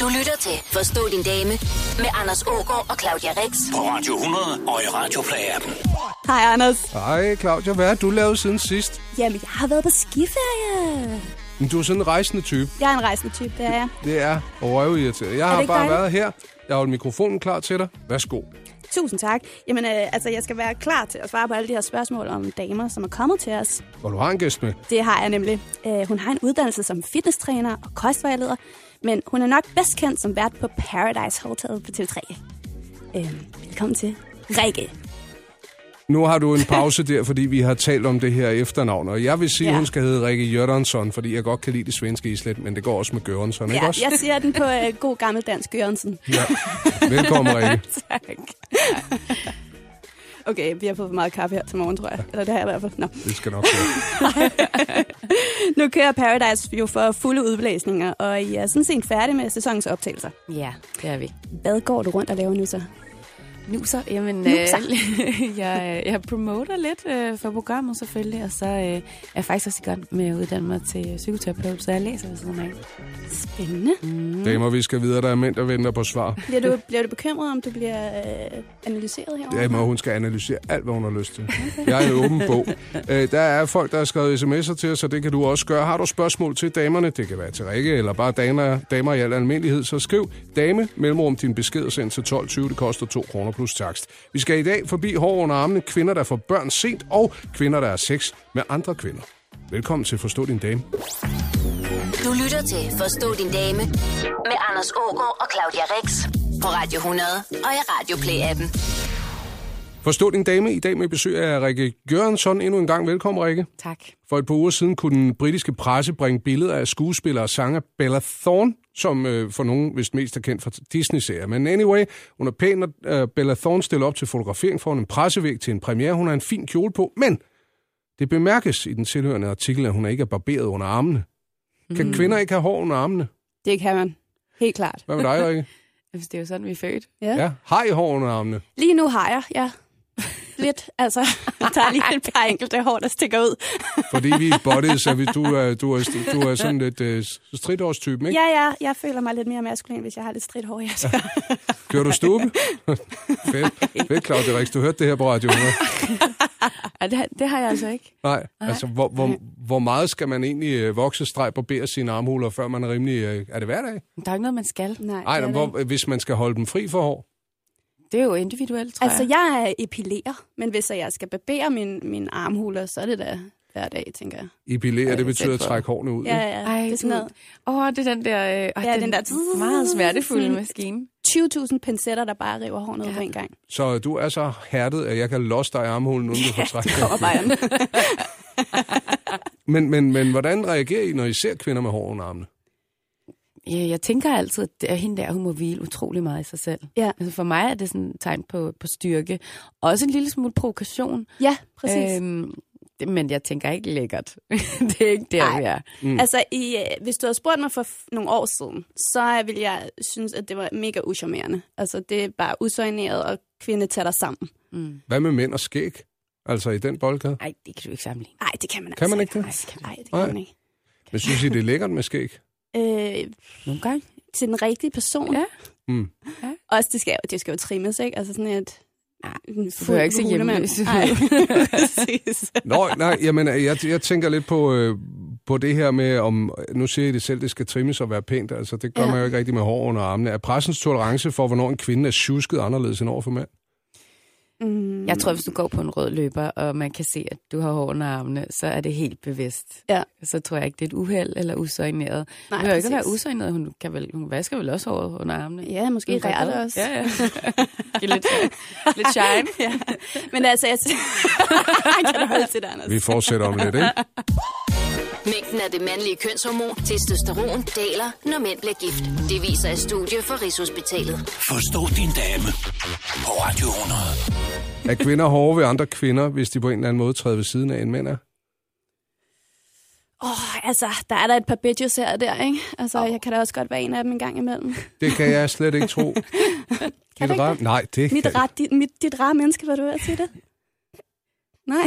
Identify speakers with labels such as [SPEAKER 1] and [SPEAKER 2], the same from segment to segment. [SPEAKER 1] Du lytter til Forstå din dame med Anders Ågaard og Claudia Rex.
[SPEAKER 2] På Radio 100 og i Radioplay-appen.
[SPEAKER 3] Hej, Anders.
[SPEAKER 4] Ej, Claudia, hvad har du lavet siden sidst?
[SPEAKER 3] Jamen, jeg har været på skiferie.
[SPEAKER 4] Men Du er sådan en rejsende type.
[SPEAKER 3] Jeg er en rejsende type, det er jeg.
[SPEAKER 4] Det er røvirriteret. Jeg har
[SPEAKER 3] ikke
[SPEAKER 4] bare
[SPEAKER 3] dejligt?
[SPEAKER 4] været her. Jeg har holdt mikrofonen klar til dig. Værsgo.
[SPEAKER 3] Tusind tak. Jamen, øh, altså, jeg skal være klar til at svare på alle de her spørgsmål om damer, som er kommet til os.
[SPEAKER 4] Og du har en gæst med.
[SPEAKER 3] Det har jeg nemlig. Øh, hun har en uddannelse som fitnesstræner og kostvejleder, men hun er nok bedst kendt som vært på Paradise Hotel på TV3. Øh, velkommen til Rikke.
[SPEAKER 4] Nu har du en pause der, fordi vi har talt om det her efternavn. Og jeg vil sige, at
[SPEAKER 3] Ja.
[SPEAKER 4] hun skal hedde Rikke Jørgensson, fordi jeg godt kan lide det svenske islet, men det går også med Gørensson, ikke
[SPEAKER 3] Ja,
[SPEAKER 4] også?
[SPEAKER 3] jeg siger den på øh, god gammel dansk Jørgensen.
[SPEAKER 4] Ja. Velkommen, Rikke.
[SPEAKER 3] tak. Okay, vi har fået for meget kaffe her til morgen, tror jeg. Eller det har jeg i hvert fald. Nå.
[SPEAKER 4] Det skal nok være.
[SPEAKER 3] Nu kører Paradise jo for fulde udblæsninger, og I er sådan set færdige med sæsonens optagelser.
[SPEAKER 5] Ja, det er vi.
[SPEAKER 3] Hvad går du rundt og laver nu så?
[SPEAKER 5] Nuser, jamen,
[SPEAKER 3] Nuser.
[SPEAKER 5] Øh, jeg, jeg promoter lidt øh, for programmet selvfølgelig, og så øh, er jeg faktisk også i gang med at uddanne mig til psykoterapeut, så jeg læser ved siden af.
[SPEAKER 3] Spændende.
[SPEAKER 4] Damer, vi skal videre. Der er mænd, der venter på svar.
[SPEAKER 3] Bliver du, bliver du bekymret, om du bliver øh, analyseret herovre?
[SPEAKER 4] Damer, hun skal analysere alt, hvad hun har lyst til. Jeg er en åben bog. Øh, Der er folk, der har skrevet sms'er til os, så det kan du også gøre. Har du spørgsmål til damerne, det kan være til Rikke, eller bare damer, damer i al almindelighed, så skriv dame, mellemrum din besked og send til 12.20. Det koster 2 kroner plus takst. Vi skal i dag forbi hår under armene, kvinder, der får børn sent, og kvinder, der er sex med andre kvinder. Velkommen til Forstå din dame.
[SPEAKER 1] Du lytter til Forstå din dame med Anders Ågaard og Claudia Rex. På Radio 100 og i Radioplay-appen.
[SPEAKER 4] Forstå din dame i dag med besøg af Rikke Jørgensen. Endnu en gang velkommen, Rikke.
[SPEAKER 5] Tak.
[SPEAKER 4] For et par uger siden kunne den britiske presse bringe billeder af skuespiller og sanger Bella Thorne, som øh, for nogen vist mest er kendt fra Disney-serier. Men anyway, hun er pæn, og øh, Bella Thorne stiller op til fotografering foran en pressevæg til en premiere. Hun har en fin kjole på, men det bemærkes i den tilhørende artikel, at hun ikke er barberet under armene. Kan kvinder ikke have hår under armene?
[SPEAKER 3] Det kan man. Helt klart.
[SPEAKER 4] Hvad med dig, Rikke?
[SPEAKER 5] Hvis det er jo sådan, vi er født.
[SPEAKER 3] Ja. ja.
[SPEAKER 4] Ja, har I hår under armene?
[SPEAKER 3] Lige nu har jeg, ja. Lidt, altså. Der er lige et par enkelte hår, der stikker ud.
[SPEAKER 4] Fordi vi er bodies, så vi, du, er, du, er, du er sådan lidt øh, stridårstypen, ikke?
[SPEAKER 3] Ja, ja, jeg føler mig lidt mere maskulin, hvis jeg har lidt stridt hår. Jeg skal.
[SPEAKER 4] Kører du stube? Fedt. Fedt, Claudia Rix. Du hørte det her på Radio 100.
[SPEAKER 5] Ej, det, har- det har jeg altså ikke.
[SPEAKER 4] Nej, altså hvor, hvor, hvor meget skal man egentlig øh, vokse streg på bære sine armhuler, før man er rimelig... øh, Er det hverdag?
[SPEAKER 5] Men Der er ikke noget, man skal.
[SPEAKER 3] Nej,
[SPEAKER 4] Nej,
[SPEAKER 3] det
[SPEAKER 4] men
[SPEAKER 3] er det
[SPEAKER 4] hvor, hvis man skal holde dem fri for hår.
[SPEAKER 5] Det er jo individuelt, tror
[SPEAKER 3] Altså,
[SPEAKER 5] jeg.
[SPEAKER 3] jeg er epilerer, men hvis jeg skal barbere min, mine armhuler, så er det da hver dag, tænker jeg.
[SPEAKER 4] Epilere,
[SPEAKER 5] Ej,
[SPEAKER 4] det betyder at
[SPEAKER 5] tæt på.
[SPEAKER 4] trække hårene ud.
[SPEAKER 3] Ja,
[SPEAKER 4] ikke?
[SPEAKER 3] ja,
[SPEAKER 5] Ej,
[SPEAKER 3] det er sådan noget.
[SPEAKER 5] Åh, det er den der... Øh, øh,
[SPEAKER 3] Ja, den der-
[SPEAKER 5] meget smertefulde maskine.
[SPEAKER 3] 20.000 pincetter, der bare river håret ned ja. på en gang.
[SPEAKER 4] Så du er så hærdet, at jeg kan losse dig i armhulen, uden du får trækket.
[SPEAKER 3] Overvejer
[SPEAKER 4] Men, men, men hvordan reagerer I, når I ser kvinder med hår under armene?
[SPEAKER 5] Ja, jeg tænker altid, at det er hende der, hun må hvile utrolig meget i sig selv.
[SPEAKER 3] Ja.
[SPEAKER 5] Altså for mig er det sådan et tegn på, på styrke. Også en lille smule provokation.
[SPEAKER 3] Ja, præcis. Øhm,
[SPEAKER 5] det, men jeg tænker ikke lækkert. det er ikke der,
[SPEAKER 3] Ej.
[SPEAKER 5] vi er.
[SPEAKER 3] mm. Altså, i, øh, hvis du havde spurgt mig for f- nogle år siden, så ville jeg synes, at det var mega uschammerende. Altså, det er bare usøgneret, og kvinde tager dig sammen.
[SPEAKER 4] Hvad med mænd og skæg? Altså i den boldgade?
[SPEAKER 5] Nej, det kan du ikke sammenligne.
[SPEAKER 3] Nej, det kan man
[SPEAKER 4] Kan
[SPEAKER 3] altså
[SPEAKER 4] man ikke det?
[SPEAKER 3] Nej, det kan, Ej, det
[SPEAKER 4] Nej.
[SPEAKER 3] kan man ikke.
[SPEAKER 4] Men synes I, det er lækkert med skæg?
[SPEAKER 3] Øh,
[SPEAKER 5] Nogle gange.
[SPEAKER 3] til den rigtige person.
[SPEAKER 5] Ja.
[SPEAKER 4] Mm.
[SPEAKER 5] Ja.
[SPEAKER 3] Også, det skal, jo- det skal jo trimmes, ikke? Altså sådan et...
[SPEAKER 5] Nej,
[SPEAKER 3] en
[SPEAKER 5] du behøver ikke se
[SPEAKER 3] fuld hulemand.
[SPEAKER 5] hjemløs ud.
[SPEAKER 3] Nej, præcis.
[SPEAKER 4] Nå, nej, jamen, øh, jeg, jeg tænker lidt på, øh, på det her med, om øh, nu siger I det selv, det skal trimmes og være pænt. Altså, det gør ja.
[SPEAKER 3] Ja.
[SPEAKER 4] man jo ikke rigtig med hår under armene. Er pressens tolerance for, hvornår en kvinde er tjusket anderledes end over for mænd?
[SPEAKER 3] Mm,
[SPEAKER 5] Jeg tror, hvis du går på en rød løber, og man kan se, at du har hår under armene, så er det helt bevidst.
[SPEAKER 3] Ja.
[SPEAKER 5] Så tror jeg ikke, det er et uheld eller usøgneret. Nej,
[SPEAKER 3] Nej,
[SPEAKER 5] det behøver ikke at være
[SPEAKER 3] præcis.
[SPEAKER 5] usøgneret. Hun, kan vel, hun vasker vel også håret under armene.
[SPEAKER 3] Ja, måske
[SPEAKER 5] Hun
[SPEAKER 3] rører
[SPEAKER 5] gør
[SPEAKER 3] det også.
[SPEAKER 5] Ja, ja. Giv lidt, lidt shine.
[SPEAKER 3] ja. Men altså, jeg... kan du holde til det, Anders?
[SPEAKER 4] Vi fortsætter om lidt, ikke?
[SPEAKER 1] Mængden af det mandlige kønshormon testosteron daler, når mænd bliver gift. Det viser et studie fra Rigshospitalet.
[SPEAKER 2] Forstå din dame på Radio 100.
[SPEAKER 4] Er kvinder hårde ved andre kvinder, hvis de på en eller anden måde træder ved siden af en mænd er?
[SPEAKER 3] Åh, oh, altså, der er der et par bitches her og der, ikke? Altså, oh. jeg kan da også godt være en af dem en gang imellem.
[SPEAKER 4] Det kan jeg slet ikke tro.
[SPEAKER 3] Kan du
[SPEAKER 4] Dit
[SPEAKER 3] ikke
[SPEAKER 4] rar- Nej, det
[SPEAKER 3] Mit,
[SPEAKER 4] kan-
[SPEAKER 3] ret, dit, mit, dit rare menneske, var du ved at sige det? Nej.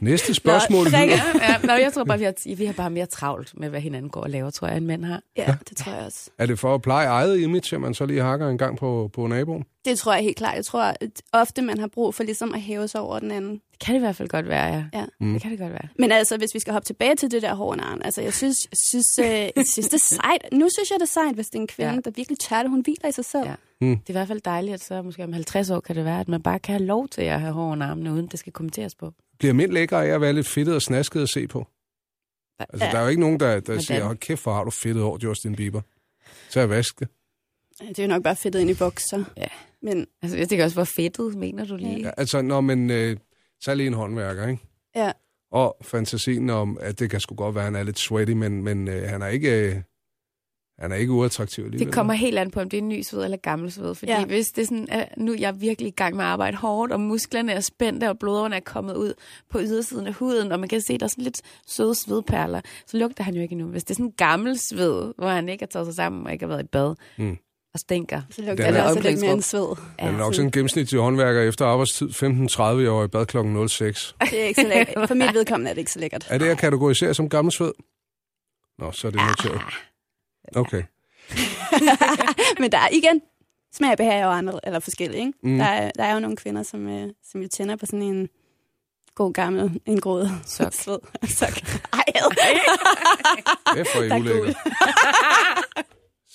[SPEAKER 4] Næste spørgsmål
[SPEAKER 3] Nå,
[SPEAKER 4] lyder...
[SPEAKER 5] ja, nå, jeg tror bare, vi har, vi har bare mere travlt med, hvad hinanden går og laver, tror jeg, end mænd har.
[SPEAKER 3] Ja, det tror jeg også.
[SPEAKER 4] Er det for at pleje eget image, at man så lige hakker en gang på, på naboen?
[SPEAKER 3] Det tror jeg helt klart. Jeg tror at ofte, man har brug for ligesom at hæve sig over den anden.
[SPEAKER 5] Det kan det i hvert fald godt være, ja.
[SPEAKER 3] Ja.
[SPEAKER 5] Mm. Det kan det godt være.
[SPEAKER 3] Men altså, hvis vi skal hoppe tilbage til det der hårnaren, altså jeg synes, jeg synes, øh, jeg synes det er sejt. Nu synes jeg, det er sejt, hvis det er en kvinde,
[SPEAKER 5] Ja.
[SPEAKER 3] ja. der virkelig tør det. Hun hviler i sig selv.
[SPEAKER 5] Ja.
[SPEAKER 3] Ja.
[SPEAKER 5] Det er i hvert fald dejligt, at så måske om 50 år kan det være, at man bare kan have lov til at have hår under armene, uden det skal kommenteres på.
[SPEAKER 4] Bliver mænd lækre af at være lidt fedtet og snasket at se på? Altså, ja.
[SPEAKER 3] Ja.
[SPEAKER 4] der er jo ikke nogen, der, der
[SPEAKER 5] Hvordan?
[SPEAKER 4] siger, hold kæft, hvor har du fedtet over Justin Bieber. Så er vaske det.
[SPEAKER 3] Det er jo nok bare fedtet ind i bukser.
[SPEAKER 5] Ja.
[SPEAKER 3] Men
[SPEAKER 5] Altså, jeg tænker også, hvor fedtet mener du lige?
[SPEAKER 4] Ja, altså, når man... Øh, så er lige en håndværker, ikke?
[SPEAKER 3] ja,
[SPEAKER 4] Og fantasien om, at det kan sgu godt være, at han er lidt sweaty, men, men øh, han er ikke... Øh, han er ikke uattraktiv alligevel.
[SPEAKER 5] Det kommer helt an på, om det er ny sved eller gammel sved. Fordi ja.
[SPEAKER 3] Ja.
[SPEAKER 5] hvis det er sådan, at nu er jeg virkelig i gang med at arbejde hårdt, og musklerne er spændte, og blodårene er kommet ud på ydersiden af huden, og man kan se, at der er sådan lidt søde svedperler, så lugter han jo ikke endnu. Hvis det er sådan en gammel sved, hvor han ikke har taget sig sammen og ikke har været i bad,
[SPEAKER 4] Mm.
[SPEAKER 5] mm. og stinker.
[SPEAKER 3] så
[SPEAKER 4] Den
[SPEAKER 3] lugter
[SPEAKER 4] er
[SPEAKER 3] det også lidt
[SPEAKER 5] omklædningsrum.
[SPEAKER 3] mere end sved.
[SPEAKER 4] Han er
[SPEAKER 5] Ja.
[SPEAKER 4] nok sådan en gennemsnitlig håndværker efter arbejdstid 15.30 år i bad kl. 06.
[SPEAKER 3] Det er ikke så lækkert. For mit vedkommende er det ikke så lækkert.
[SPEAKER 4] Er det
[SPEAKER 5] Ah.
[SPEAKER 4] at kategorisere som gammel sved? Nå, så er det noteret.
[SPEAKER 5] Ah.
[SPEAKER 4] Okay.
[SPEAKER 3] Men der er igen smag og behag er jo andre, eller forskellige. Ikke?
[SPEAKER 4] Mm.
[SPEAKER 3] Mm. Der, er, der er jo nogle kvinder, som, øh, som jo tænder på sådan en god gammel, en gråd.
[SPEAKER 5] Sok.
[SPEAKER 3] Sved. Sok. Ej, ad.
[SPEAKER 4] Det får I
[SPEAKER 3] Der er
[SPEAKER 4] ulækkert.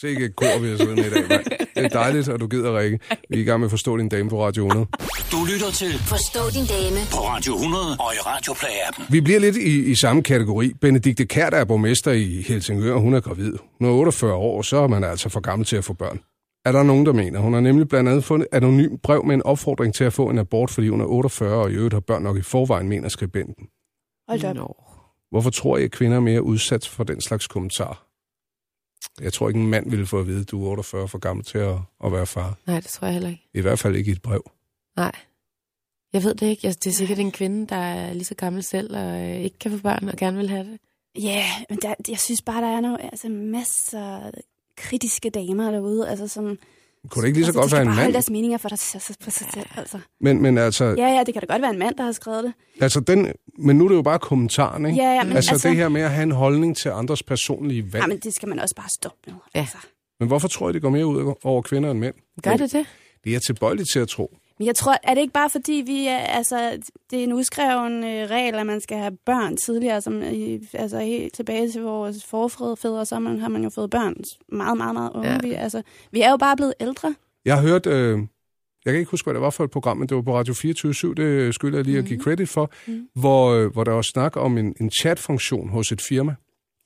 [SPEAKER 4] Sikke et kor, vi har siddet med i dag, mand. Det er dejligt, at du gider, Rikke. Vi er i gang med at forstå din dame på Radio 100.
[SPEAKER 2] Du lytter til
[SPEAKER 1] Forstå din dame
[SPEAKER 2] på Radio 100 og i Radioplay-appen.
[SPEAKER 4] Vi bliver lidt i, i samme kategori. Benedikte Kær, der er borgmester i Helsingør, hun er gravid. Hun er 48 år, så er man altså for gammel til at få børn. Er der nogen, der mener? Hun har nemlig blandt andet fundet et anonymt brev med en opfordring til at få en abort, fordi hun er 48 og i øvrigt har børn nok i forvejen, mener skribenten.
[SPEAKER 3] Hold da op.
[SPEAKER 5] Nå.
[SPEAKER 4] Hvorfor tror I, at kvinder er mere udsat for den slags kommentar? Jeg tror ikke, en mand ville få at vide, at du er 48 for gammel til at, at være far.
[SPEAKER 5] Nej, det tror jeg heller ikke.
[SPEAKER 4] I hvert fald ikke i et brev.
[SPEAKER 5] Nej. Jeg ved det ikke. Jeg- Det er sikkert en kvinde, der er lige så gammel selv, og øh, ikke kan få børn, og gerne vil have det.
[SPEAKER 3] Ja, yeah, men der, jeg synes bare, der er nogle, altså, masser af kritiske damer derude, altså, som...
[SPEAKER 4] Kunne det ikke lige
[SPEAKER 3] altså,
[SPEAKER 4] så
[SPEAKER 3] de
[SPEAKER 4] godt være
[SPEAKER 3] skal
[SPEAKER 4] en
[SPEAKER 3] bare holde
[SPEAKER 4] mand?
[SPEAKER 3] deres meninger for dig sig, sig, for sig selv, altså.
[SPEAKER 4] Men, men, altså, ja.
[SPEAKER 3] Ja, ja, det kan da godt være en mand, der har skrevet det.
[SPEAKER 4] altså den, men nu er det jo bare kommentaren, ikke?
[SPEAKER 3] Ja, ja, men
[SPEAKER 4] altså, altså
[SPEAKER 3] altså-
[SPEAKER 4] det her med at have en holdning til andres personlige valg.
[SPEAKER 3] Ja, men det skal man også bare stoppe med,
[SPEAKER 5] Ja.
[SPEAKER 3] altså.
[SPEAKER 4] Men hvorfor tror jeg, det går mere ud over kvinder end mænd?
[SPEAKER 5] Gør det det?
[SPEAKER 4] Det er jeg tilbøjelig til at tro.
[SPEAKER 3] Men jeg tror, er det ikke bare fordi, vi er, altså, det er en udskreven øh, regel, at man skal have børn tidligere, som i, altså helt tilbage til vores forfædre, så har man, har man jo fået børn meget, meget, meget unge.
[SPEAKER 5] Ja.
[SPEAKER 3] Ja. Vi, altså, vi er jo bare blevet ældre.
[SPEAKER 4] Jeg har hørt, øh, jeg kan ikke huske, hvad det var for et program, men det var på Radio 24 det skylder jeg lige at give credit for, mm. hvor, øh, hvor der var snak om en, en chatfunktion hos et firma.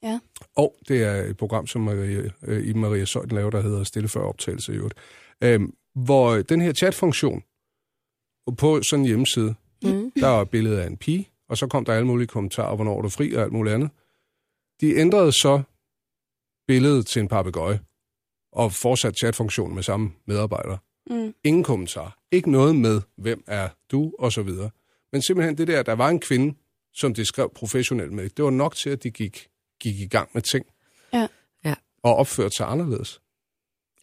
[SPEAKER 3] Ja.
[SPEAKER 4] Og det er et program, som Maria, øh, Iben Maria Søjden laver, der hedder Stille før optagelse i øvrigt. Øh, hvor den her chatfunktion på sådan en hjemmeside,
[SPEAKER 5] Mm.
[SPEAKER 4] der var et billede af en pige, og så kom der alle mulige kommentarer, hvornår er du fri og alt muligt andet. De ændrede så billedet til en papegøje og fortsat chatfunktionen med samme medarbejdere.
[SPEAKER 3] Mm.
[SPEAKER 4] Ingen kommentar. Ikke noget med, hvem er du, og så videre. Men simpelthen det der, der var en kvinde, som det skrev professionelt med, det var nok til, at de gik, gik i gang med ting.
[SPEAKER 3] Ja.
[SPEAKER 5] Ja.
[SPEAKER 4] Og opførte sig anderledes.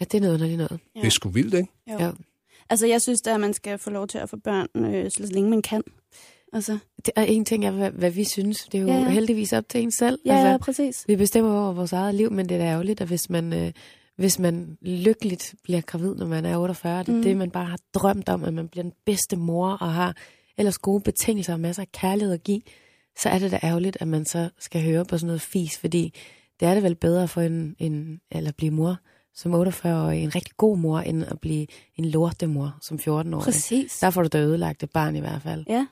[SPEAKER 5] Ja, det er noget, underligt noget.
[SPEAKER 4] Ja. Det er sgu vildt, ikke?
[SPEAKER 5] Ja.
[SPEAKER 3] Altså, jeg synes da, at man skal få lov til at få børn, øh, så længe man kan. Altså,
[SPEAKER 5] Det er en ting, er, hvad, hvad vi synes. Det er jo
[SPEAKER 3] Ja,
[SPEAKER 5] ja.
[SPEAKER 3] ja.
[SPEAKER 5] heldigvis op til en selv.
[SPEAKER 3] ja, altså,
[SPEAKER 5] Altså,
[SPEAKER 3] præcis.
[SPEAKER 5] vi bestemmer over vores eget liv, men det er da ærgerligt, at hvis man, øh, hvis man lykkeligt bliver gravid, når man er 48, det er mm.
[SPEAKER 3] Mhm.
[SPEAKER 5] det, man bare har drømt om, at man bliver den bedste mor og har ellers gode betingelser og masser af kærlighed at give, så er det da ærgerligt, at man så skal høre på sådan noget fis, fordi det er det vel bedre for en, en eller blive mor som 48-årig, en rigtig god mor, end at blive en lortemor som 14-årig.
[SPEAKER 3] Præcis.
[SPEAKER 5] Der får du da ødelagt et barn i hvert fald.
[SPEAKER 3] Ja.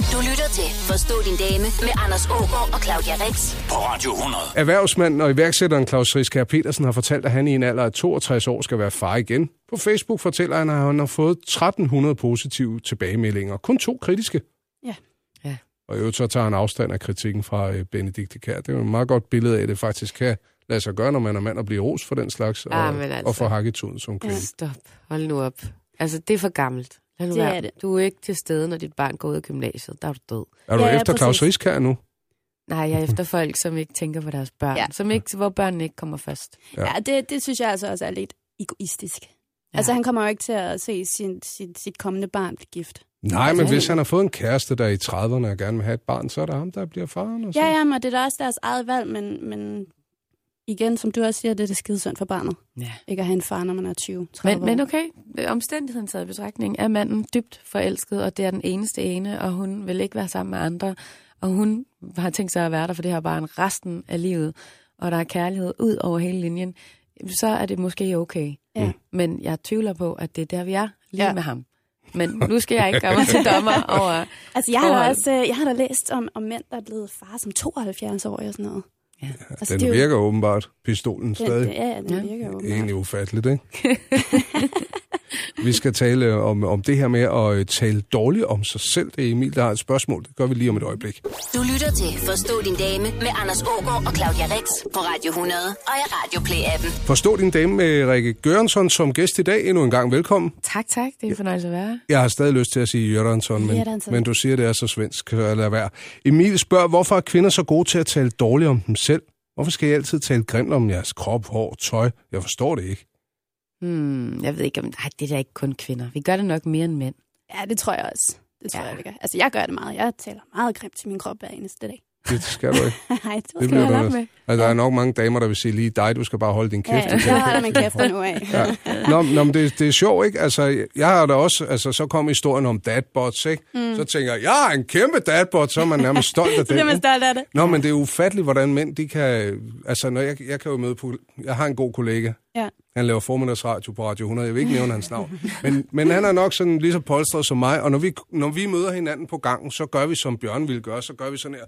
[SPEAKER 1] Du lytter til Forstå din dame med Anders Ågaard og Claudia Rex.
[SPEAKER 2] På Radio 100.
[SPEAKER 4] Erhvervsmanden og iværksætteren Claus Riskær Petersen har fortalt, at han i en alder af 62 år skal være far igen. På Facebook fortæller han, at han har fået 1300 positive tilbagemeldinger. Kun to kritiske.
[SPEAKER 3] Ja.
[SPEAKER 5] Ja.
[SPEAKER 4] Og i øvrigt så tager han afstand af kritikken fra øh, Benedikte Kær. Det er jo et meget godt billede af, at det faktisk kan lade sig gøre, når man er mand og bliver ros for den slags, og,
[SPEAKER 5] Ah, men altså.
[SPEAKER 4] og få hakketuden som kvinde.
[SPEAKER 5] Stop. Hold nu op. Altså, det er for gammelt. Lad nu
[SPEAKER 3] Det
[SPEAKER 5] være.
[SPEAKER 3] er det.
[SPEAKER 5] Du er ikke til stede, når dit barn går ud af gymnasiet. Der er du død.
[SPEAKER 4] Er du
[SPEAKER 3] Ja,
[SPEAKER 4] ja,
[SPEAKER 3] ja,
[SPEAKER 4] efter Claus
[SPEAKER 3] præcis.
[SPEAKER 4] Riskær nu?
[SPEAKER 5] Nej, jeg er efter folk, som ikke tænker på deres børn. Ja.
[SPEAKER 3] Ja.
[SPEAKER 5] Som ikke, hvor børnene ikke kommer først.
[SPEAKER 4] Ja.
[SPEAKER 3] Ja, det, det synes jeg altså også er lidt egoistisk. Ja. Altså, han kommer jo ikke til at se sin, sit, sit kommende barn blive gift.
[SPEAKER 4] Nej, men
[SPEAKER 5] Altså,
[SPEAKER 4] hvis han har fået en kæreste, der er i 30'erne og gerne vil have et barn, så er det ham, der bliver faren. Og så.
[SPEAKER 3] Ja, ja, men det er da også deres eget valg, men, men igen, som du også siger, det er det skidesundt for barnet.
[SPEAKER 5] Ja.
[SPEAKER 3] Ikke at have en far, når man er 20 30
[SPEAKER 5] Men, men okay, omstændigheden taget i betragtning er manden dybt forelsket, og det er den eneste ene, og hun vil ikke være sammen med andre, og hun har tænkt sig at være der for det her barn resten af livet, og der er kærlighed ud over hele linjen, så er det måske okay.
[SPEAKER 3] Ja.
[SPEAKER 5] Men jeg tvivler på, at det er der, vi er lige
[SPEAKER 3] Ja.
[SPEAKER 5] ja. med ham. Men nu skal jeg ikke gøre mig til dommer over...
[SPEAKER 3] Altså, jeg har, da
[SPEAKER 5] forhold.
[SPEAKER 3] også, øh, jeg har da læst om, om mænd, der er blevet far som 72 år og sådan noget.
[SPEAKER 5] Ja.
[SPEAKER 3] altså,
[SPEAKER 4] Den virker åbenbart, pistolen
[SPEAKER 3] jo, den,
[SPEAKER 4] stadig.
[SPEAKER 3] ja, den
[SPEAKER 5] Ja.
[SPEAKER 3] virker jo. åbenbart.
[SPEAKER 4] Egentlig ufatteligt, ikke? vi skal tale øh, om, om det her med at øh, tale dårligt om sig selv. Det er Emil, der har et spørgsmål. Det gør vi lige om et øjeblik.
[SPEAKER 1] Du lytter til Forstå din dame med Anders Ågaard og Claudia Rex på Radio 100 og i Radio Play-appen.
[SPEAKER 4] Forstå din dame med Rikke Gørensson som gæst i dag. Endnu en gang velkommen.
[SPEAKER 5] Tak, tak. Det er en fornøjelse at være her.
[SPEAKER 4] Jeg har stadig lyst til at sige Jørgensson, men,
[SPEAKER 3] Jørgensson.
[SPEAKER 4] men du siger, det er så svensk, så lad være. Emil spørger, hvorfor er kvinder så gode til at tale dårligt om dem selv? Hvorfor skal I altid tale grimt om jeres krop, hår, tøj? Jeg forstår det ikke.
[SPEAKER 5] Hmm, jeg ved ikke, om... Ej, det er da ikke kun kvinder. Vi gør det nok mere end mænd.
[SPEAKER 3] Ja, det tror jeg også. Det tror ja.
[SPEAKER 5] Ja.
[SPEAKER 3] jeg, vi gør. Altså, jeg gør det meget. Jeg taler meget grimt til min krop hver eneste dag.
[SPEAKER 4] Det skal du ikke.
[SPEAKER 3] Nej, det,
[SPEAKER 4] Det
[SPEAKER 3] skal
[SPEAKER 4] bliver
[SPEAKER 3] jeg
[SPEAKER 4] du
[SPEAKER 3] nok.
[SPEAKER 4] også.
[SPEAKER 5] med.
[SPEAKER 4] Og der er nok mange damer, der vil sige lige dig, du skal bare holde din kæft.
[SPEAKER 3] Ja,
[SPEAKER 4] Du
[SPEAKER 3] ja,
[SPEAKER 4] kan
[SPEAKER 3] jeg
[SPEAKER 4] ikke
[SPEAKER 3] holder min kæft fra nu af. Ja.
[SPEAKER 4] Nå, men- nå men det, det er sjovt, ikke? Altså, jeg har da også, altså, så kom historien om dadbots, ikke? Mm. Så tænker jeg, jeg har en kæmpe dadbot, så er man nærmest stolt af
[SPEAKER 3] Så bliver
[SPEAKER 4] det.
[SPEAKER 3] man
[SPEAKER 4] ikke?
[SPEAKER 3] stolt af det.
[SPEAKER 4] Nå, men det er ufatteligt, hvordan mænd, de kan... Altså, når jeg, jeg kan jo møde... på- Jeg har en god kollega.
[SPEAKER 3] Ja.
[SPEAKER 4] Han laver formiddagsradio på Radio 100. Jeg vil ikke nævne hans navn. Men, men han er nok sådan lige så polstret som mig. Og når vi, når vi møder hinanden på gangen, så gør vi, som Bjørn ville gøre. Så gør vi sådan her...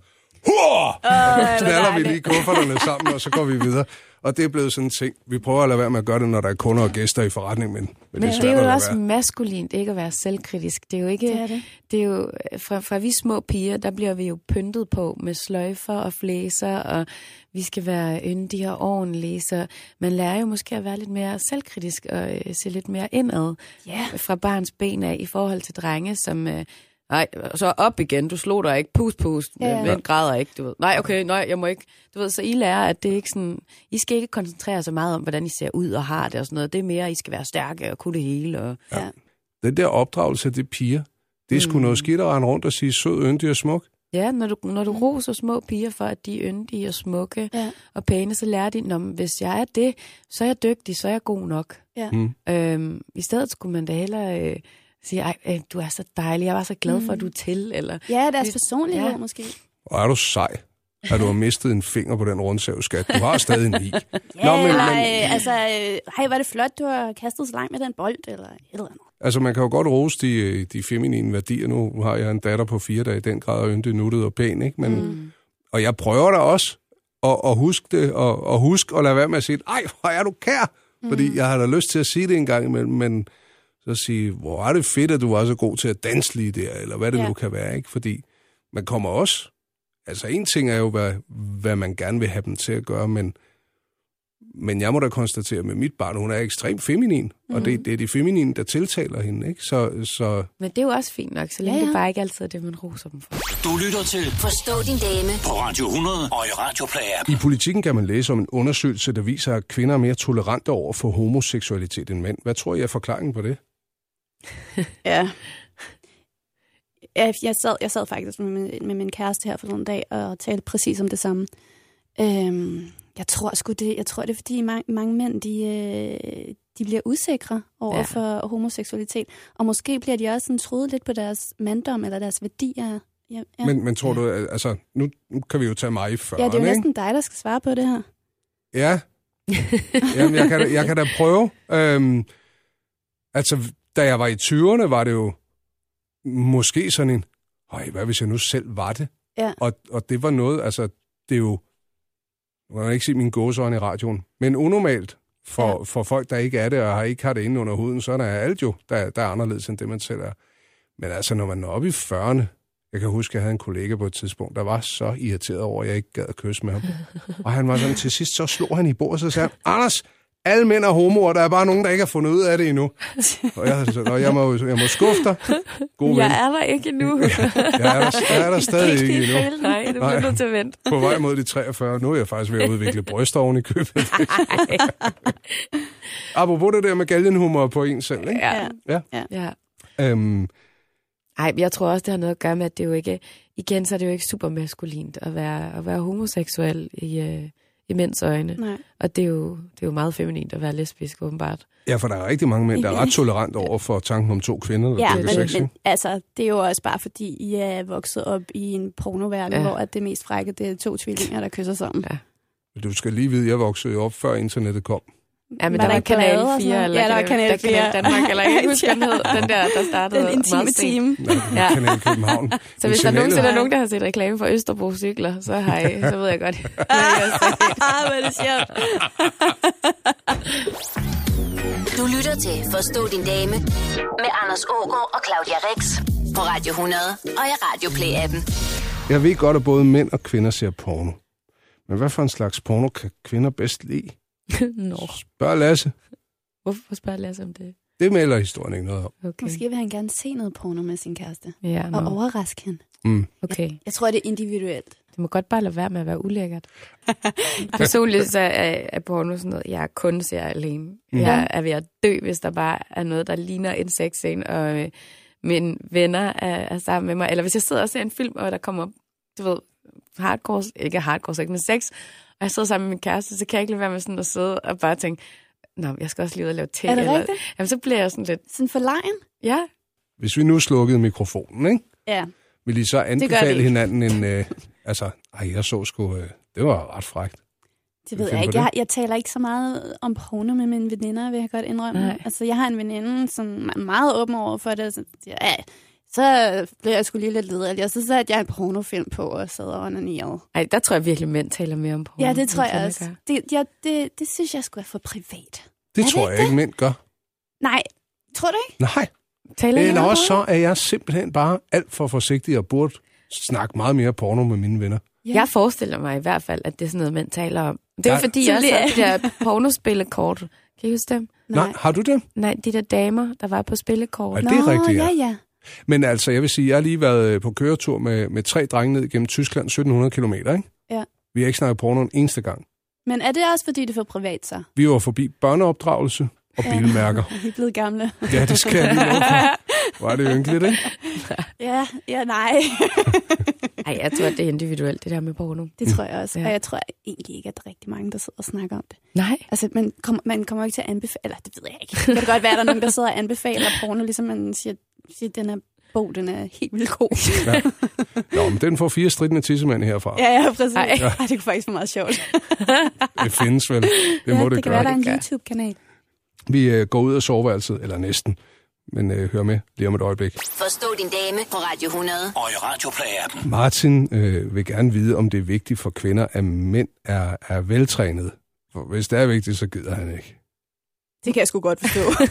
[SPEAKER 4] Hurra!
[SPEAKER 3] hvor
[SPEAKER 4] så knaller vi
[SPEAKER 3] dejligt.
[SPEAKER 4] lige kufferterne sammen, og så går vi videre. Og det er blevet sådan en ting. Vi prøver at lade være med at gøre det, når der er kunder og gæster i forretningen, men, men, men det er
[SPEAKER 5] Men det
[SPEAKER 4] svært
[SPEAKER 5] er
[SPEAKER 4] at
[SPEAKER 5] jo
[SPEAKER 4] lade
[SPEAKER 5] også
[SPEAKER 4] være.
[SPEAKER 5] maskulint ikke at være selvkritisk. Det er jo ikke...
[SPEAKER 3] Det er det.
[SPEAKER 5] det er jo fra, fra vi små piger, der bliver vi jo pyntet på med sløjfer og flæser, og vi skal være yndige og ordentlige, så man lærer jo måske at være lidt mere selvkritisk og øh, se lidt mere indad
[SPEAKER 3] Ja.
[SPEAKER 5] fra barns ben af i forhold til drenge, som... Øh, Nej, så op igen, du slog dig ikke, pust, pust,
[SPEAKER 3] Ja.
[SPEAKER 5] ja. men græder ikke, du ved. Nej, okay, nej, jeg må ikke. Du ved, så I lærer, at det er ikke sådan, I skal ikke koncentrere så meget om, hvordan I ser ud og har det og sådan noget. Det er mere, I skal være stærke og kunne det hele. Og...
[SPEAKER 3] Ja.
[SPEAKER 4] Den der opdragelse af de piger, det er sgu noget skidt at rende rundt og sige sød, yndig og smuk.
[SPEAKER 5] Ja, når du, når du roser små piger for, at de er yndige og smukke
[SPEAKER 3] Mm. Ja.
[SPEAKER 5] ja. og pæne, så lærer de, at hvis jeg er det, så er jeg dygtig, så er jeg god nok.
[SPEAKER 3] Ja.
[SPEAKER 4] Mm.
[SPEAKER 5] Øhm, I stedet skulle man da hellere øh, sige, ej, øh, du er så dejlig, jeg var så glad for, at du er til. Eller,
[SPEAKER 3] Mm. ja, deres personlighed ja.
[SPEAKER 5] Ja.
[SPEAKER 3] måske.
[SPEAKER 4] Og er du sej, at du har mistet en finger på den rundsav, skat. Du har stadig en i.
[SPEAKER 3] Ja, Nå, men, eller, men... altså, øh, hej, var det flot, du har kastet så langt med den bold, eller et eller andet.
[SPEAKER 4] Altså, man kan jo godt rose de, øh, de feminine værdier. Nu har jeg en datter på fire, der i den grad er yndig, nuttet og pæn, ikke? Men, mm. Og jeg prøver da også at, at huske det, og, og huske at lade være med at sige, ej, hvor er du kær? Fordi jeg har da lyst til at sige det en gang imellem, men så sige, hvor er det fedt, at du var så god til at danse lige der, eller hvad det
[SPEAKER 3] Ja.
[SPEAKER 4] ja. nu kan være, ikke? Fordi man kommer også... Altså, en ting er jo, hvad, hvad man gerne vil have dem til at gøre, men men jeg må da konstatere med mit barn, hun er ekstremt feminin, mm. og
[SPEAKER 3] Mhm.
[SPEAKER 4] det, det er de feminine, der tiltaler hende, ikke? Så, så
[SPEAKER 5] Men det er jo også fint nok, så længe
[SPEAKER 3] Ja,
[SPEAKER 5] ja,
[SPEAKER 3] ja.
[SPEAKER 5] ja. det bare ikke altid er det, man roser dem for.
[SPEAKER 2] Du lytter til
[SPEAKER 1] Forstå din dame
[SPEAKER 2] på Radio 100 og i Radio Play-appen.
[SPEAKER 4] i politikken kan man læse om en undersøgelse, der viser, at kvinder er mere tolerante over for homoseksualitet end mænd. Hvad tror I er forklaringen på det?
[SPEAKER 3] Ja. Jeg, jeg, sad, jeg sad faktisk med, min- med min kæreste her for nogle dag og talte præcis om det samme. Øhm, jeg tror sgu det, jeg tror det er fordi mange, mange mænd, de, øh, de bliver usikre over ja.
[SPEAKER 5] Ja.
[SPEAKER 3] for homoseksualitet. Og måske bliver de også sådan troet lidt på deres manddom eller deres værdier. Ja, ja.
[SPEAKER 4] Ja. Men, men tror du, at- altså, nu, nu kan vi jo tage mig før,
[SPEAKER 3] ja, det er jo
[SPEAKER 4] ikke?
[SPEAKER 3] næsten dig, der skal svare på det her.
[SPEAKER 4] Ja. Jamen, jeg kan, da- jeg kan da prøve. Øhm, altså, da jeg var i 20'erne, var det jo måske sådan en, Øj, hvad hvis jeg nu selv var det?
[SPEAKER 3] Ja.
[SPEAKER 4] Og, og det var noget, altså, det er jo, nu kan jeg ikke sige mine gåseøjne i radioen, men unormalt for, ja. for folk, der ikke er det, og har ikke har det inde under huden, så er der alt jo, der, der er anderledes end det, man selv er. Men altså, når man er oppe i 40'erne, jeg kan huske, at jeg havde en kollega på et tidspunkt, der var så irriteret over, at jeg ikke gad at kysse med ham. Og han var sådan, til sidst så slog han i bordet, så sagde han, Anders, alle mænd er homoer, der er bare nogen, der ikke har fundet ud af det endnu. Og jeg havde sådan, "Nå, jeg må, jo- jeg må skuffe dig. God ven.
[SPEAKER 5] Jeg er der ikke endnu. jeg
[SPEAKER 4] Jeg er der, jeg er der stadig ikke endnu.
[SPEAKER 5] Nej, det
[SPEAKER 4] Nej.
[SPEAKER 5] bliver nødt til at vente.
[SPEAKER 4] På vej mod de 43. Nu er jeg faktisk ved at udvikle bryster oven i købet. Apropos det der med galgenhumor på en selv, ikke?
[SPEAKER 5] Ja.
[SPEAKER 4] Ja.
[SPEAKER 5] ja.
[SPEAKER 4] Øhm,
[SPEAKER 5] Ej, jeg tror også, det har noget at gøre med, at det jo ikke... Igen, så er det jo ikke super maskulint at være, at være homoseksuel i, øh, i mænds øjne.
[SPEAKER 3] Nej.
[SPEAKER 5] Og det er, jo, det er jo meget feminint at være lesbisk, åbenbart.
[SPEAKER 4] ja, for der er rigtig mange mænd, der er ret tolerant over for tanken om to kvinder, der
[SPEAKER 3] Ja,
[SPEAKER 4] dyrker
[SPEAKER 3] men,
[SPEAKER 4] sex,
[SPEAKER 3] men
[SPEAKER 4] ikke?
[SPEAKER 3] altså, det er jo også bare fordi, I er vokset op i en pornoverden,
[SPEAKER 5] Ja.
[SPEAKER 3] ja. hvor at det mest frække, det er to tvillinger, der kysser sammen.
[SPEAKER 5] Ja.
[SPEAKER 4] Men Du skal lige vide, jeg voksede jo op, før internettet kom.
[SPEAKER 5] Ja, men
[SPEAKER 3] Var
[SPEAKER 5] der,
[SPEAKER 3] der
[SPEAKER 5] var
[SPEAKER 3] ikke ballade og
[SPEAKER 5] Kanal
[SPEAKER 3] sådan
[SPEAKER 5] 4,
[SPEAKER 3] noget?
[SPEAKER 5] eller
[SPEAKER 3] Ja, der var Kanal 4.
[SPEAKER 5] Kanal Danmark, eller jeg kan ikke huske, den hed, den der, der startede
[SPEAKER 3] Den intime
[SPEAKER 5] meget sent.
[SPEAKER 3] time.
[SPEAKER 4] Nej,
[SPEAKER 5] Ja.
[SPEAKER 4] ja. Kanal København.
[SPEAKER 5] Så hvis der nogensinde er
[SPEAKER 4] Signalet-
[SPEAKER 5] nogen, der har set reklame for Østerbro cykler, så har I, så ved jeg godt. hvad I har set.
[SPEAKER 3] Ah, hvor er det sjovt.
[SPEAKER 1] Du lytter til Forstå din dame med Anders Ågaard og Claudia Rex på Radio 100 og i Radio Play-appen.
[SPEAKER 4] Jeg ved godt, at både mænd og kvinder ser porno. Men hvad for en slags porno kan kvinder bedst lide?
[SPEAKER 5] Nå,
[SPEAKER 4] Spørg Lasse.
[SPEAKER 5] hvorfor spørger Lasse om det?
[SPEAKER 4] Det melder historien ikke noget om.
[SPEAKER 5] Okay.
[SPEAKER 3] Måske vil han gerne se noget porno med sin kæreste.
[SPEAKER 5] Ja,
[SPEAKER 3] Og
[SPEAKER 5] nå.
[SPEAKER 3] overraske hende.
[SPEAKER 4] Mm.
[SPEAKER 5] okay.
[SPEAKER 3] Jeg tror, det er individuelt.
[SPEAKER 5] Det må godt bare lade være med at være ulækkert. Personligt så er, er porno sådan noget, jeg kun ser alene.
[SPEAKER 3] Mhm.
[SPEAKER 5] Jeg er ved at dø, hvis der bare er noget, der ligner en sexscene, og øh, mine venner er, er sammen med mig. Eller hvis jeg sidder og ser en film, og der kommer, du ved, hardcore, ikke hardcore sex, men sex, og jeg sidder sammen med min kæreste, så kan jeg ikke lade være med sådan at sidde og bare tænke, Nå, men jeg skal også lige ud og lave te.
[SPEAKER 3] Er det
[SPEAKER 5] eller,
[SPEAKER 3] rigtigt?
[SPEAKER 5] Jamen, så bliver jeg sådan lidt,
[SPEAKER 3] Sådan for lejen?
[SPEAKER 5] ja,
[SPEAKER 4] Hvis vi nu slukkede mikrofonen, ikke?
[SPEAKER 3] Ja.
[SPEAKER 4] vil I så
[SPEAKER 3] det
[SPEAKER 4] anbefale
[SPEAKER 3] ikke.
[SPEAKER 4] hinanden en... Øh, altså, ej, jeg så sgu... Øh, det var ret frækt.
[SPEAKER 3] Det
[SPEAKER 4] Kan
[SPEAKER 3] ved
[SPEAKER 4] vi finde
[SPEAKER 3] jeg
[SPEAKER 4] på
[SPEAKER 3] ikke.
[SPEAKER 4] det?
[SPEAKER 3] Jeg, jeg taler ikke så meget om porno med mine veninder, vil jeg godt indrømme.
[SPEAKER 5] Nej.
[SPEAKER 3] Nej. Altså, jeg har en veninde, som er meget åben over for det. Så, siger, ja, så blev jeg sgu lige lidt lederlig, og så satte jeg en pornofilm på og sad og onanerede.
[SPEAKER 5] ej, der tror jeg virkelig, mænd taler mere om porno.
[SPEAKER 3] Ja, det
[SPEAKER 5] end
[SPEAKER 3] tror jeg
[SPEAKER 5] kvinder
[SPEAKER 3] også.
[SPEAKER 5] gør.
[SPEAKER 3] Det, ja, det, det synes jeg skulle er for privat.
[SPEAKER 4] Det
[SPEAKER 3] Er det
[SPEAKER 4] tror jeg
[SPEAKER 3] ikke
[SPEAKER 4] ikke, mænd gør.
[SPEAKER 3] Nej, tror du ikke?
[SPEAKER 4] Nej.
[SPEAKER 5] Taler I
[SPEAKER 4] Eller
[SPEAKER 5] om
[SPEAKER 4] også
[SPEAKER 5] porno?
[SPEAKER 4] så er jeg simpelthen bare alt for forsigtig og burde snakke meget mere porno med mine venner.
[SPEAKER 5] Ja. Jeg forestiller mig i hvert fald, at det er sådan noget, mænd taler om. Det er
[SPEAKER 4] Nej.
[SPEAKER 5] jo fordi,
[SPEAKER 3] Så
[SPEAKER 5] jeg også
[SPEAKER 3] lige-
[SPEAKER 5] havde de der pornospillekort. Kan I huske dem?
[SPEAKER 4] Nej, har du det?
[SPEAKER 5] Nej, de der damer, der var på
[SPEAKER 4] Er
[SPEAKER 5] spillekort.
[SPEAKER 4] det rigtigt, ja?
[SPEAKER 3] ja. ja.
[SPEAKER 4] Men altså, jeg vil sige, jeg har lige været øh, på køretur med, med tre drenge ned gennem Tyskland, 1700 km, ikke?
[SPEAKER 3] Ja.
[SPEAKER 4] Vi har ikke snakket porno en eneste gang.
[SPEAKER 3] Men er det også, fordi det er for privat, så?
[SPEAKER 4] Vi var forbi børneopdragelse og
[SPEAKER 3] Ja.
[SPEAKER 4] bilmærker.
[SPEAKER 3] Vi er blevet gamle.
[SPEAKER 4] Ja, det skal jeg lige love for. Var det ynkeligt, ikke?
[SPEAKER 3] Ja, ja, nej.
[SPEAKER 5] Nej, jeg tror, at det er individuelt, det der med porno.
[SPEAKER 3] Det tror jeg også.
[SPEAKER 5] Ja.
[SPEAKER 3] Ja. Og jeg tror egentlig ikke, at der er rigtig mange, der sidder og snakker om det.
[SPEAKER 5] Nej.
[SPEAKER 3] Altså, man, kom, man kommer ikke til at anbefale... Eller, det ved jeg ikke. Det kan godt være, at der er nogen, der sidder og anbefaler porno, ligesom man siger, siger den her bog, den er helt vildt god.
[SPEAKER 4] Nå, men den får fire stridende tissemænd herfra.
[SPEAKER 3] ja, ja, præcis.
[SPEAKER 5] Ej.
[SPEAKER 3] Ej. Ej, det kunne faktisk være meget sjovt.
[SPEAKER 4] Det findes vel. Det ja, må det,
[SPEAKER 3] det kan være,
[SPEAKER 4] gøre.
[SPEAKER 3] der er en
[SPEAKER 5] Det gør.
[SPEAKER 3] YouTube-kanal.
[SPEAKER 4] Vi øh, går ud af soveværelset, eller næsten. Men øh, hør med lige om et øjeblik.
[SPEAKER 1] Forstå din dame på Radio 100.
[SPEAKER 2] Og i Radio Play-appen.
[SPEAKER 4] Martin øh, vil gerne vide, om det er vigtigt for kvinder, at mænd er, er veltrænede. For hvis det er vigtigt, så gider han ikke.
[SPEAKER 3] Det kan jeg sgu godt forstå.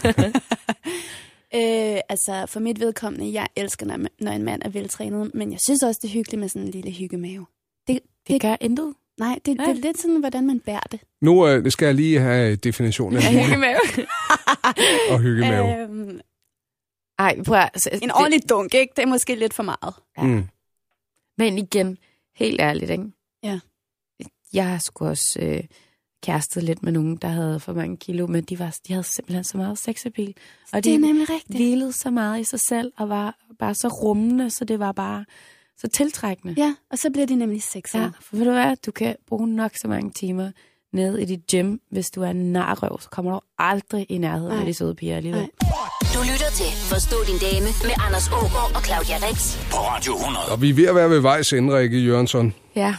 [SPEAKER 3] øh, altså, for mit vedkommende, jeg elsker, når, når en mand er veltrænet, men jeg synes også, det er hyggeligt med sådan en lille hyggemave.
[SPEAKER 5] Det gør intet.
[SPEAKER 3] Nej, det, det er
[SPEAKER 5] Nej.
[SPEAKER 3] lidt sådan, hvordan man bærer det.
[SPEAKER 4] Nu øh, skal jeg lige have definitionen af
[SPEAKER 5] Jeg
[SPEAKER 4] hygge
[SPEAKER 5] hygge med.
[SPEAKER 4] og hyggemave.
[SPEAKER 3] Øhm,
[SPEAKER 5] Ej, prøv at, så,
[SPEAKER 3] en ordentlig dunk, ikke? Det er måske lidt for meget.
[SPEAKER 5] Øh.
[SPEAKER 4] Mm.
[SPEAKER 5] det, Men igen, helt ærligt, ikke?
[SPEAKER 3] Ja.
[SPEAKER 5] Jeg har sgu også øh, kærestet lidt med nogen, der havde for mange kilo, men de, var, de havde simpelthen så meget sexappeal. Og
[SPEAKER 3] Det er nemlig rigtigt.
[SPEAKER 5] hvilede så meget i sig selv, og var bare så rummende, så det var bare så tiltrækkende.
[SPEAKER 3] Ja, og så bliver de nemlig sexede.
[SPEAKER 5] Ja, for ved du hvad, du kan bruge nok så mange timer nede i dit gym, hvis du er en narrøv, så kommer du aldrig i nærheden af
[SPEAKER 3] Nej.
[SPEAKER 5] de søde piger alligevel.
[SPEAKER 3] Nej.
[SPEAKER 1] Du lytter til Forstå din dame med Anders Ågaard og Claudia Rex.
[SPEAKER 2] På Radio 100.
[SPEAKER 4] Og vi er ved at være ved vejs ende, Rikke Jørgensen.
[SPEAKER 5] Ja,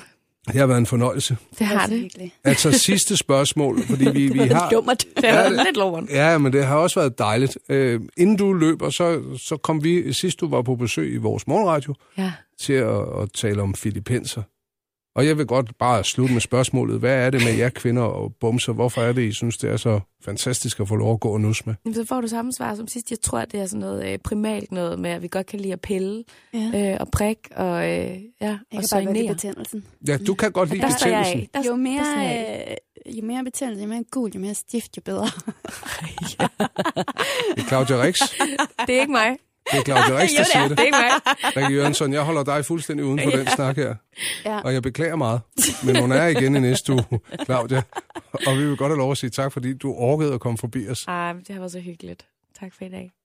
[SPEAKER 4] Det har været en fornøjelse.
[SPEAKER 5] det har det.
[SPEAKER 3] Virkelig.
[SPEAKER 4] Altså sidste spørgsmål, fordi vi, vi har...
[SPEAKER 5] Dummert. Det
[SPEAKER 4] Ja,
[SPEAKER 5] er
[SPEAKER 4] det-
[SPEAKER 5] lidt loveren.
[SPEAKER 4] Ja, men det har også været dejligt. Øh, inden du løber, så, så kom vi, sidst du var på besøg i vores morgenradio,
[SPEAKER 5] Ja.
[SPEAKER 4] til at, at tale om filippenser. Og jeg vil godt bare slutte med spørgsmålet. Hvad er det med jer kvinder og bumser? Hvorfor er det, I synes, det er så fantastisk at få lov at gå og nusse med?
[SPEAKER 5] Jamen, Så får du samme svar som sidst. Jeg tror, det er sådan noget øh, primalt noget med, at vi godt kan lide at pille
[SPEAKER 3] Ja.
[SPEAKER 5] øh, og prikke og, øh, ja,
[SPEAKER 3] Jeg
[SPEAKER 5] og
[SPEAKER 3] kan bare godt lide
[SPEAKER 5] soignere.
[SPEAKER 3] betændelsen.
[SPEAKER 4] Ja, du kan godt lide
[SPEAKER 5] Der står jeg af.
[SPEAKER 4] betændelsen.
[SPEAKER 5] Der-
[SPEAKER 3] jo, mere,
[SPEAKER 5] der står jeg
[SPEAKER 3] øh, jo mere betændelse, jo mere gul, jo mere stift, jo bedre.
[SPEAKER 4] Det er Claudia Rix.
[SPEAKER 5] Det er ikke mig.
[SPEAKER 4] Det er Claudia Rix, der
[SPEAKER 3] Jo, det
[SPEAKER 4] siger
[SPEAKER 3] er.
[SPEAKER 5] Det er
[SPEAKER 4] det.
[SPEAKER 5] ikke mig.
[SPEAKER 4] Rikke Jørgensen, jeg holder dig fuldstændig uden for den snak her.
[SPEAKER 3] Ja.
[SPEAKER 4] Og jeg beklager meget, men hun er igen i næste uge, Claudia. Og vi vil godt have lov at sige tak, fordi du orkede at komme forbi os.
[SPEAKER 5] Ej, men det har været så hyggeligt. Tak for i dag.